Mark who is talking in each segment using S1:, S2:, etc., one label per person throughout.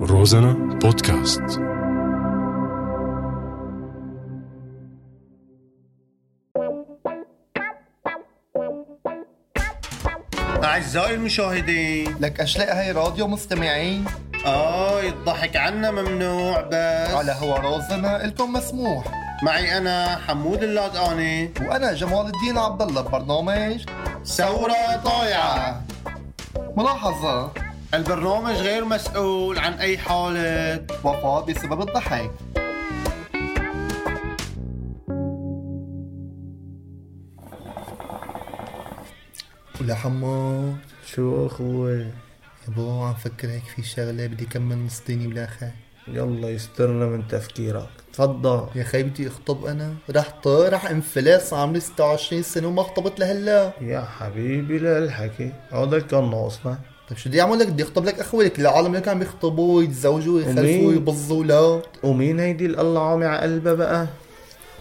S1: روزانا بودكاست
S2: أعزائي المشاهدين
S3: لك اشلاء هي راديو مستمعين
S2: آه الضحك عنا ممنوع بس
S3: على هوا رازنا الكم مسموح
S2: معي أنا حمود اللادقاني
S3: وانا جمال الدين عبد الله ببرنامج
S2: ثورة طايعة
S3: ملاحظه
S2: البرنامج غير مسؤول عن أي حالة
S3: وفاه بسبب الضحك ولا حمو
S4: شو اخوي
S3: يبو عم فكر هيك في شغله بدي كمل مصديني بالاخر
S4: يلا يسترنا من تفكيرك تفضل
S3: يا خي بدي اخطب انا رح طير رح انفلاس عمري 26 سنه وما خطبت لهلا
S4: يا حبيبي لهالحكي هذا كان ناقصنا
S3: طيب شو بدي اعمل لك بدي اخطب لك اخوي لك العالم لك عم يخطبوا ويتزوجوا ويخلفوا
S4: ومين؟
S3: ويبظوا لا
S4: ومين هيدي اللي الله عامي على قلبها بقى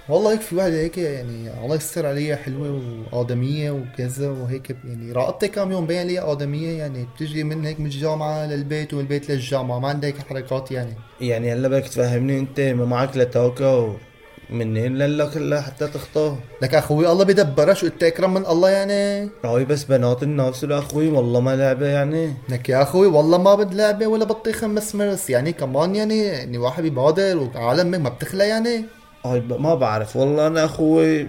S3: والله هيك في واحدة هيك يعني الله يستر عليها حلوة وآدمية وكذا وهيك يعني رقبتها كم يوم بين لي آدمية يعني بتجي من هيك من الجامعة للبيت ومن البيت للجامعة ما عندها هيك حركات يعني
S4: يعني هلا بدك تفهمني انت ما معك لا توكا منين للا كلها حتى تخطب
S3: لك أخوي الله بدبرها شو قلت أكرم من الله يعني
S4: هاي بس بنات الناس اخوي والله ما لعبه يعني
S3: لك يا أخوي والله ما بد لعبة ولا بطيخة مس مرس يعني كمان يعني يعني واحد بيبادر وعالمك ما بتخلى يعني
S4: هاي ب- ما بعرف والله انا اخوي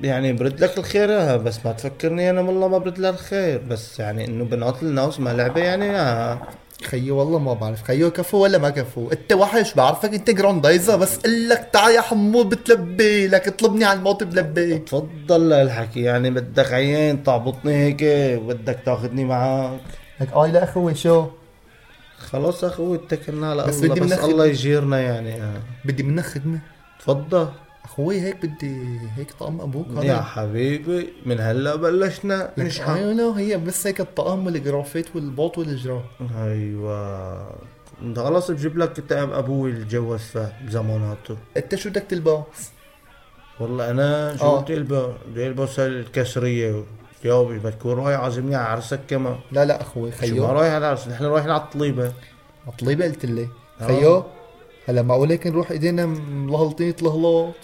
S4: يعني برد لك الخير ياها بس ما تفكرني انا والله ما برد لها الخير بس يعني انه بنات الناس ما لعبه يعني ياها
S3: خيي والله ما بعرف خيي كفو ولا ما كفو انت وحش بعرفك انت جراندايزر بس قل لك تعال يا حمو بتلبي لك اطلبني على الموت بلبي
S4: تفضل لهالحكي يعني بدك عيان تعبطني هيك بدك تاخذني معك
S3: لك اي لا اخوي شو
S4: خلاص اخوي اتكلنا على
S3: بس
S4: بس الله
S3: بدي
S4: بس
S3: منك-
S4: الله يجيرنا يعني آه.
S3: بدي منك خدمه
S4: تفضل
S3: اخوي هيك بدي هيك طقم ابوك
S4: يا حبيبي من هلا بلشنا نشحن
S3: ايوه هي بس هيك الطقم والجرافيت والبوط والجرا
S4: ايوه انت خلاص بجيب لك كتاب ابوي اللي تجوز فيه بزماناته
S3: انت شو بدك تلبس
S4: والله انا شو
S3: آه.
S4: بدي البس بدي البس الكسريه جاوبي بدك رايح عازمني على عرسك كمان
S3: لا لا اخوي
S4: شو ما
S3: خيو
S4: رايح على عرس نحن رايحين على الطليبه
S3: مطلبه قلت لي
S4: آه.
S3: خيو هلا معقول هيك نروح ايدينا ملهلطين طلهلوط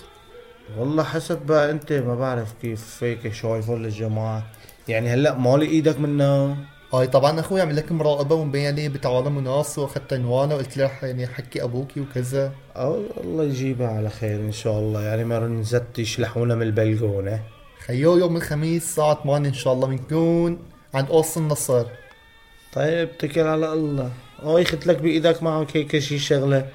S4: والله حسب بقى انت ما بعرف كيف هيك شايفه للجماعه يعني هلا مالي ايدك منها
S3: هاي طبعا اخوي عمل لك مراقبه ومبين لي بتعالى مناص واخذت عنوانه وقلت له رح يعني حكي ابوكي وكذا
S4: أو الله يجيبها على خير إن شاء الله يعني ما نزتش لحونا من البلقونة
S3: خيو يوم الخميس الساعه 8 ان شاء الله بنكون عند قوس النصر
S4: طيب تكل على الله أي خدت لك بإيدك معك هيك شي شغلة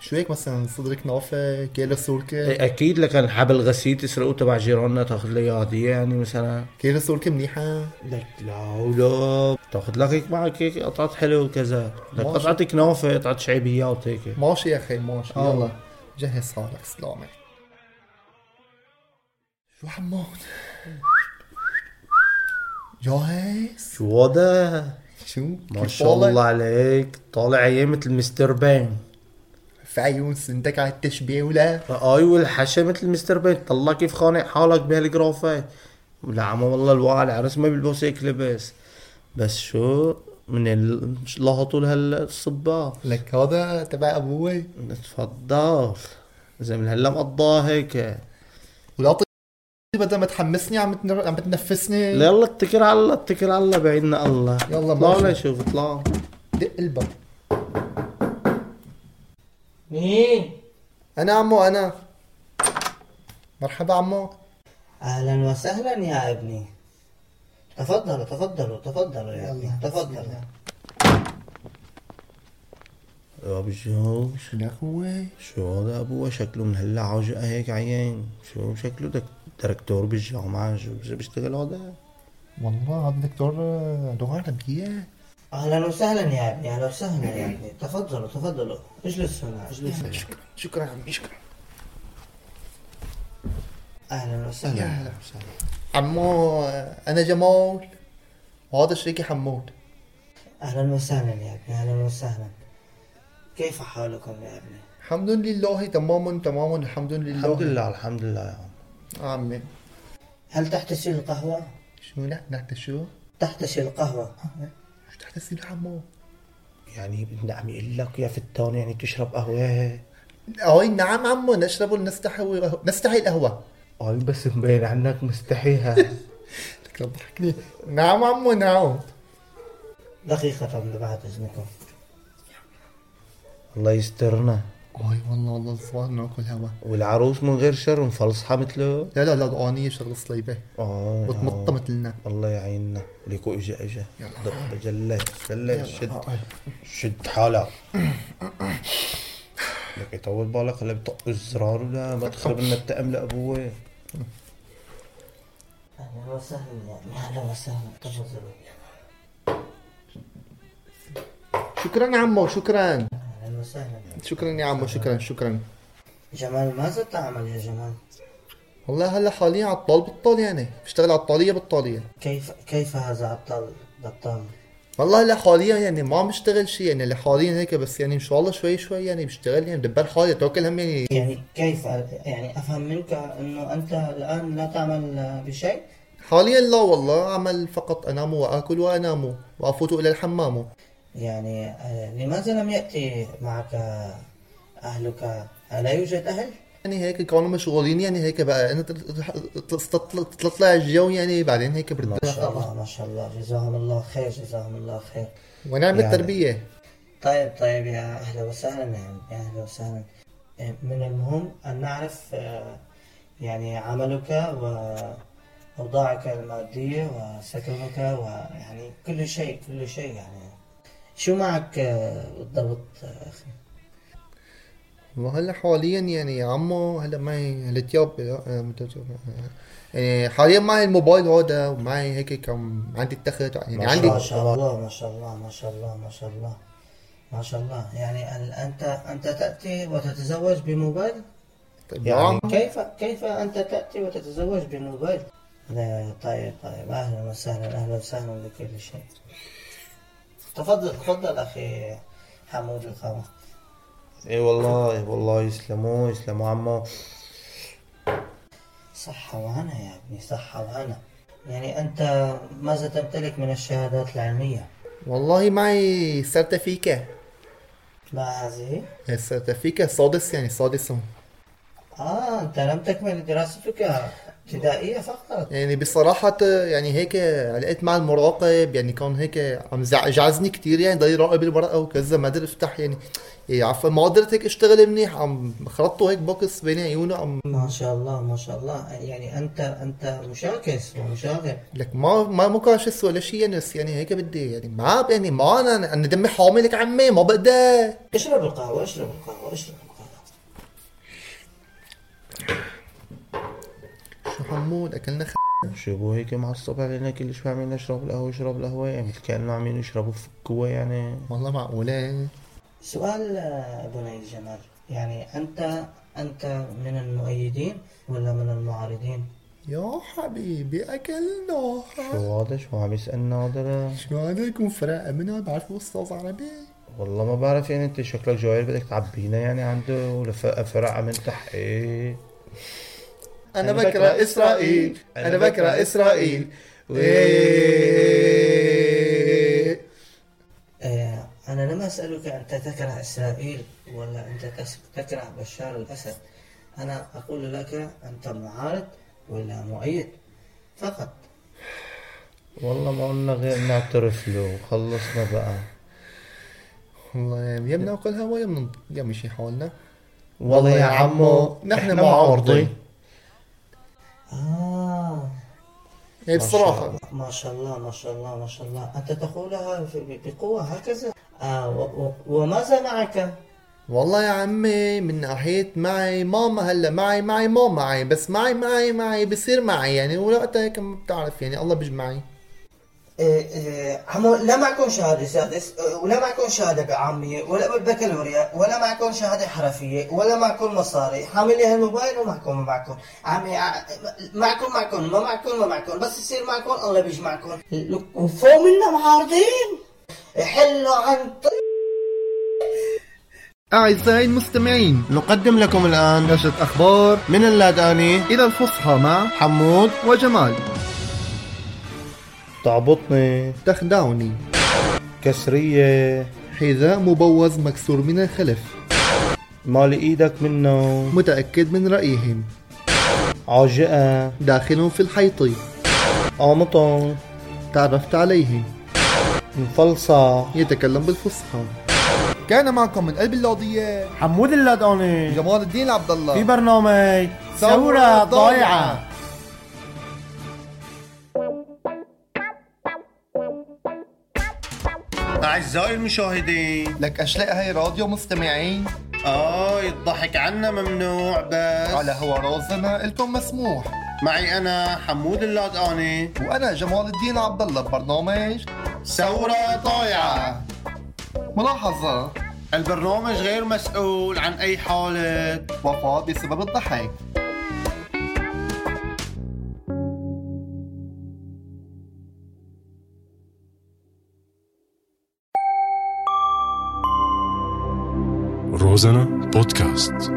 S3: شو هيك مثلا صدرك نافع كيلو سوركة
S4: إيه، أكيد لك حبل غسيل تسرقه تبع جيراننا تاخذ لي إياه هدية يعني مثلا
S3: كيلو سوركة منيحة
S4: لك لا ولا تاخذ لك هيك معك هيك قطعة حلوة وكذا لك
S3: ماشي.
S4: قطعة كنافة قطعة شعبيات هيك
S3: ماشي يا اخي ماشي
S4: آه.
S3: يلا جهز حالك سلامة شو حمود جاهز
S4: شو هذا؟
S3: شو
S4: ما
S3: كيف
S4: شاء
S3: طالع؟
S4: الله عليك طالع عيان مثل مستر بين
S3: في عيون سندك على التشبيه ولا
S4: اي والحشا أيوة، مثل مستر بين طلع كيف خانق حالك بهالجرافة لا عم والله الواقع العرس ما بيلبس هيك لبس بس شو من ال- مش لهطوا لهلا الصباح
S3: لك هذا تبع ابوي
S4: تفضل اذا من هلا مقضاها هيك
S3: ولا ط- طيب بدل ما تحمسني عم تنر- عم تنفسني
S4: لا يلا اتكل على الله اتكل على الله بعيدنا الله
S3: يلا
S4: اطلع
S3: ماشي.
S4: لي شوف اطلع
S3: دق الباب
S5: مين؟
S3: انا عمو انا مرحبا عمو
S5: أهلا وسهلا يا ابني تفضلوا تفضلوا تفضلوا يا ابني تفضلوا
S4: يا بجوز
S3: لا اخوي
S4: شو هذا ابوه شكله من هلا عجقه هيك عيان شو شكله دك دكتور بالجامعه شو بيشتغل هذا
S3: والله هذا دكتور لغة عربية
S5: أهلا وسهلا يا ابني أهلا وسهلا يا ابني تفضلوا تفضلوا اجلس هنا اجلس هنا
S3: شكرا شكرا عمي شكرا
S5: أهلا وسهلا أهلا وسهلا
S3: عمو انا جمال وهذا شريكي حمود
S5: أهلا وسهلا يا ابني أهلا وسهلا كيف حالكم يا ابني؟
S3: الحمد لله تماما تماما الحمد لله
S4: الحمد لله الحمد لله يا عم
S3: عمي
S5: هل تحتسي القهوة؟
S3: شو نحن شو؟
S5: تحتسي القهوة
S3: شو تحت السيل عمو
S4: يعني ابن عم يقول لك يا فتان يعني تشرب قهوه
S3: أي نعم عمو نشرب نستحي نستحي القهوة
S4: قال بس مبين عنك مستحيها
S3: لك رب ضحكني نعم عمو نعم
S5: دقيقة بعد إذنكم
S4: الله يسترنا
S3: أي والله والله الصبح ناكل هوا
S4: والعروس من غير شر مفلصحه مثله
S3: لا لا لا الأغنية شغلة صليبة آه.
S4: اه
S3: وتمطة مثلنا
S4: الله يعيننا ليكو اجا اجا دق جلة جلة شد شد حالك لك يطول بالك هلا بطق الزرار ولا ما تخرب لنا التأم لأبوه
S5: أهلا وسهلا يعني أهلا وسهلا تفضلوا
S3: شكرا عمو شكرا
S5: أهلا وسهلا يعني.
S3: شكرا يا عمو شكرا شكرا
S5: جمال ماذا تعمل يا جمال؟
S3: والله هلا حاليا عطال بطال يعني بشتغل عطالية بطالية
S5: كيف كيف هذا عطل بطال؟
S3: والله هلا حاليا يعني ما عم بشتغل شيء يعني هلا حاليا هيك بس يعني ان شاء الله شوي شوي يعني بشتغل يعني دبر حالي توكل هم يعني
S5: يعني كيف يعني أفهم منك أنه أنت الآن لا تعمل بشيء؟
S3: حاليا لا والله عمل فقط انام واكل وانام وافوت الى الحمام
S5: يعني آه، لماذا لم يأتي معك أهلك؟ ألا يوجد أهل؟
S3: يعني هيك كانوا مشغولين يعني هيك بقى انا تطلع الجو يعني بعدين هيك
S5: ما
S3: برتاح
S5: شاء الله ما شاء الله جزاهم الله خير جزاهم الله خير
S3: ونعمل
S4: يعني-
S3: التربية
S5: طيب طيب يا أهلا وسهلا يعني يا أهلا وسهلا إيه، من المهم أن نعرف آه، يعني عملك وأوضاعك المادية وسكنك ويعني كل شيء كل شيء يعني شو معك آه، بالضبط آه، أخي؟
S3: وهلا حاليا يعني يا عمو هلا معي هلا تياب آه، يعني حاليا معي الموبايل هذا ومعي هيك كم عندي التخت يعني
S4: ما شاء
S3: عندي
S5: ما شاء الله ما شاء الله ما شاء الله ما شاء الله ما شاء الله يعني ال- أنت أنت تأتي وتتزوج بموبايل
S3: طيب
S4: يعني-
S3: يعني
S5: كيف كيف أنت تأتي وتتزوج بموبايل؟ لا، طيب طيب أهلا وسهلا أهلا وسهلا بكل شيء تفضل تفضل أخي حمود القمر
S4: اي إيه والله والله يسلموا يسلموا عمو
S5: صحة وهنا يا ابني صحة وهنا يعني أنت ماذا تمتلك من الشهادات العلمية؟
S3: والله معي سيرتيفيكا
S5: ما هذه؟
S3: السيرتيفيكا سادس يعني سادس هون.
S5: آه أنت لم تكمل دراستك ابتدائية فقط
S3: يعني بصراحة يعني هيك لقيت مع المراقب يعني كان هيك عم زع- جعزني كتير يعني ضل يراقب الورقة وكذا ما قدرت افتح يعني يعني عفوا ما قدرت هيك اشتغل منيح عم خلطته هيك بوكس بين عيونه عم
S5: ما شاء الله ما شاء الله يعني أنت أنت مشاكس ومشاغب
S3: لك ما ما مكاشس ولا شيء يعني بس يعني هيك بدي يعني ما يعني ما انا انا دمي حامي لك عمي ما بقدر
S5: اشرب القهوة اشرب القهوة اشرب القهوة
S3: شو حمود اكلنا خ...
S4: يعني شو ابو هيك معصب علينا كل شوي عم يشرب القهوه يشرب القهوه يعني مثل كانه عم يشربوا فكوه يعني
S3: والله معقولة
S5: سؤال آه، بني الجمال يعني أنت أنت من المؤيدين ولا من المعارضين؟
S3: يا حبيبي اكلنا
S4: شو هذا شو عم يسالنا هذا لا؟
S3: شو هذا يكون فرق منها بعرف استاذ عربي
S4: والله ما بعرف يعني انت شكلك جواير بدك تعبينا يعني عنده ولا ف- فرقه من تحت ايه
S3: أنا بكره إسرائيل أنا بكره إسرائيل وي-
S5: آه، أنا لم أسألك أنت تكره إسرائيل ولا أنت تس- تكره بشار الأسد أنا أقول لك أنت معارض ولا مؤيد فقط
S4: والله ما قلنا غير نعترف له خلصنا بقى
S3: والله يا بناكل هوا يا بن- يا مشي حالنا
S4: والله يا عمو
S3: نحن معارضين
S5: آه
S3: يعني
S5: ما شاء
S3: بصراحة
S5: الله- ما شاء الله ما شاء الله ما شاء الله أنت تقولها في- بقوة هكذا آه و- و- وماذا معك؟
S3: والله يا عمي من ناحية معي ماما هلا معي معي ما معي بس معي معي معي بصير معي يعني وقتها هيك ما بتعرف يعني الله بيجمعي
S5: إيه إيه، عمو لا معكم شهادة سادس إيه، ولا معكم شهادة بعامية ولا بالبكالوريا ولا معكم شهادة حرفية ولا معكم مصاري حاملي هالموبايل ومعكم ما معكم عمي ع- معكم معكم ما معكم ما معكم بس يصير معكم الله بيجمعكم وفوق منا معارضين حلوا عن طريق
S3: أعزائي المستمعين نقدم لكم الآن نشرة أخبار
S4: من اللادقاني
S3: إلى الفصحى مع
S4: حمود
S3: وجمال
S4: تعبطني
S3: تخدعني
S4: كسرية
S3: حذاء مبوز مكسور من الخلف
S4: مال ايدك منه
S3: متأكد من رأيهم
S4: عاجقة
S3: داخل في الحيط
S4: قامطة
S3: تعرفت عليهم
S4: مفلصة
S3: يتكلم بالفصحى كان معكم من قلب اللوضية
S6: حمود اللدقاني
S3: جمال الدين عبد
S6: في
S3: الله
S6: برنامج ثورة ضايعة
S2: أعزائي المشاهدين
S3: لك أشلاء هاي راديو مستمعين
S2: آه الضحك عنا ممنوع بس
S3: على هو رازنا إلكم مسموح
S2: معي أنا حمود اللادقاني
S3: وأنا جمال الدين عبد الله ببرنامج
S2: ثورة ضايعة
S3: ملاحظة
S2: البرنامج غير مسؤول عن أي حالة
S3: وفاة بسبب الضحك
S1: Розана подкаст.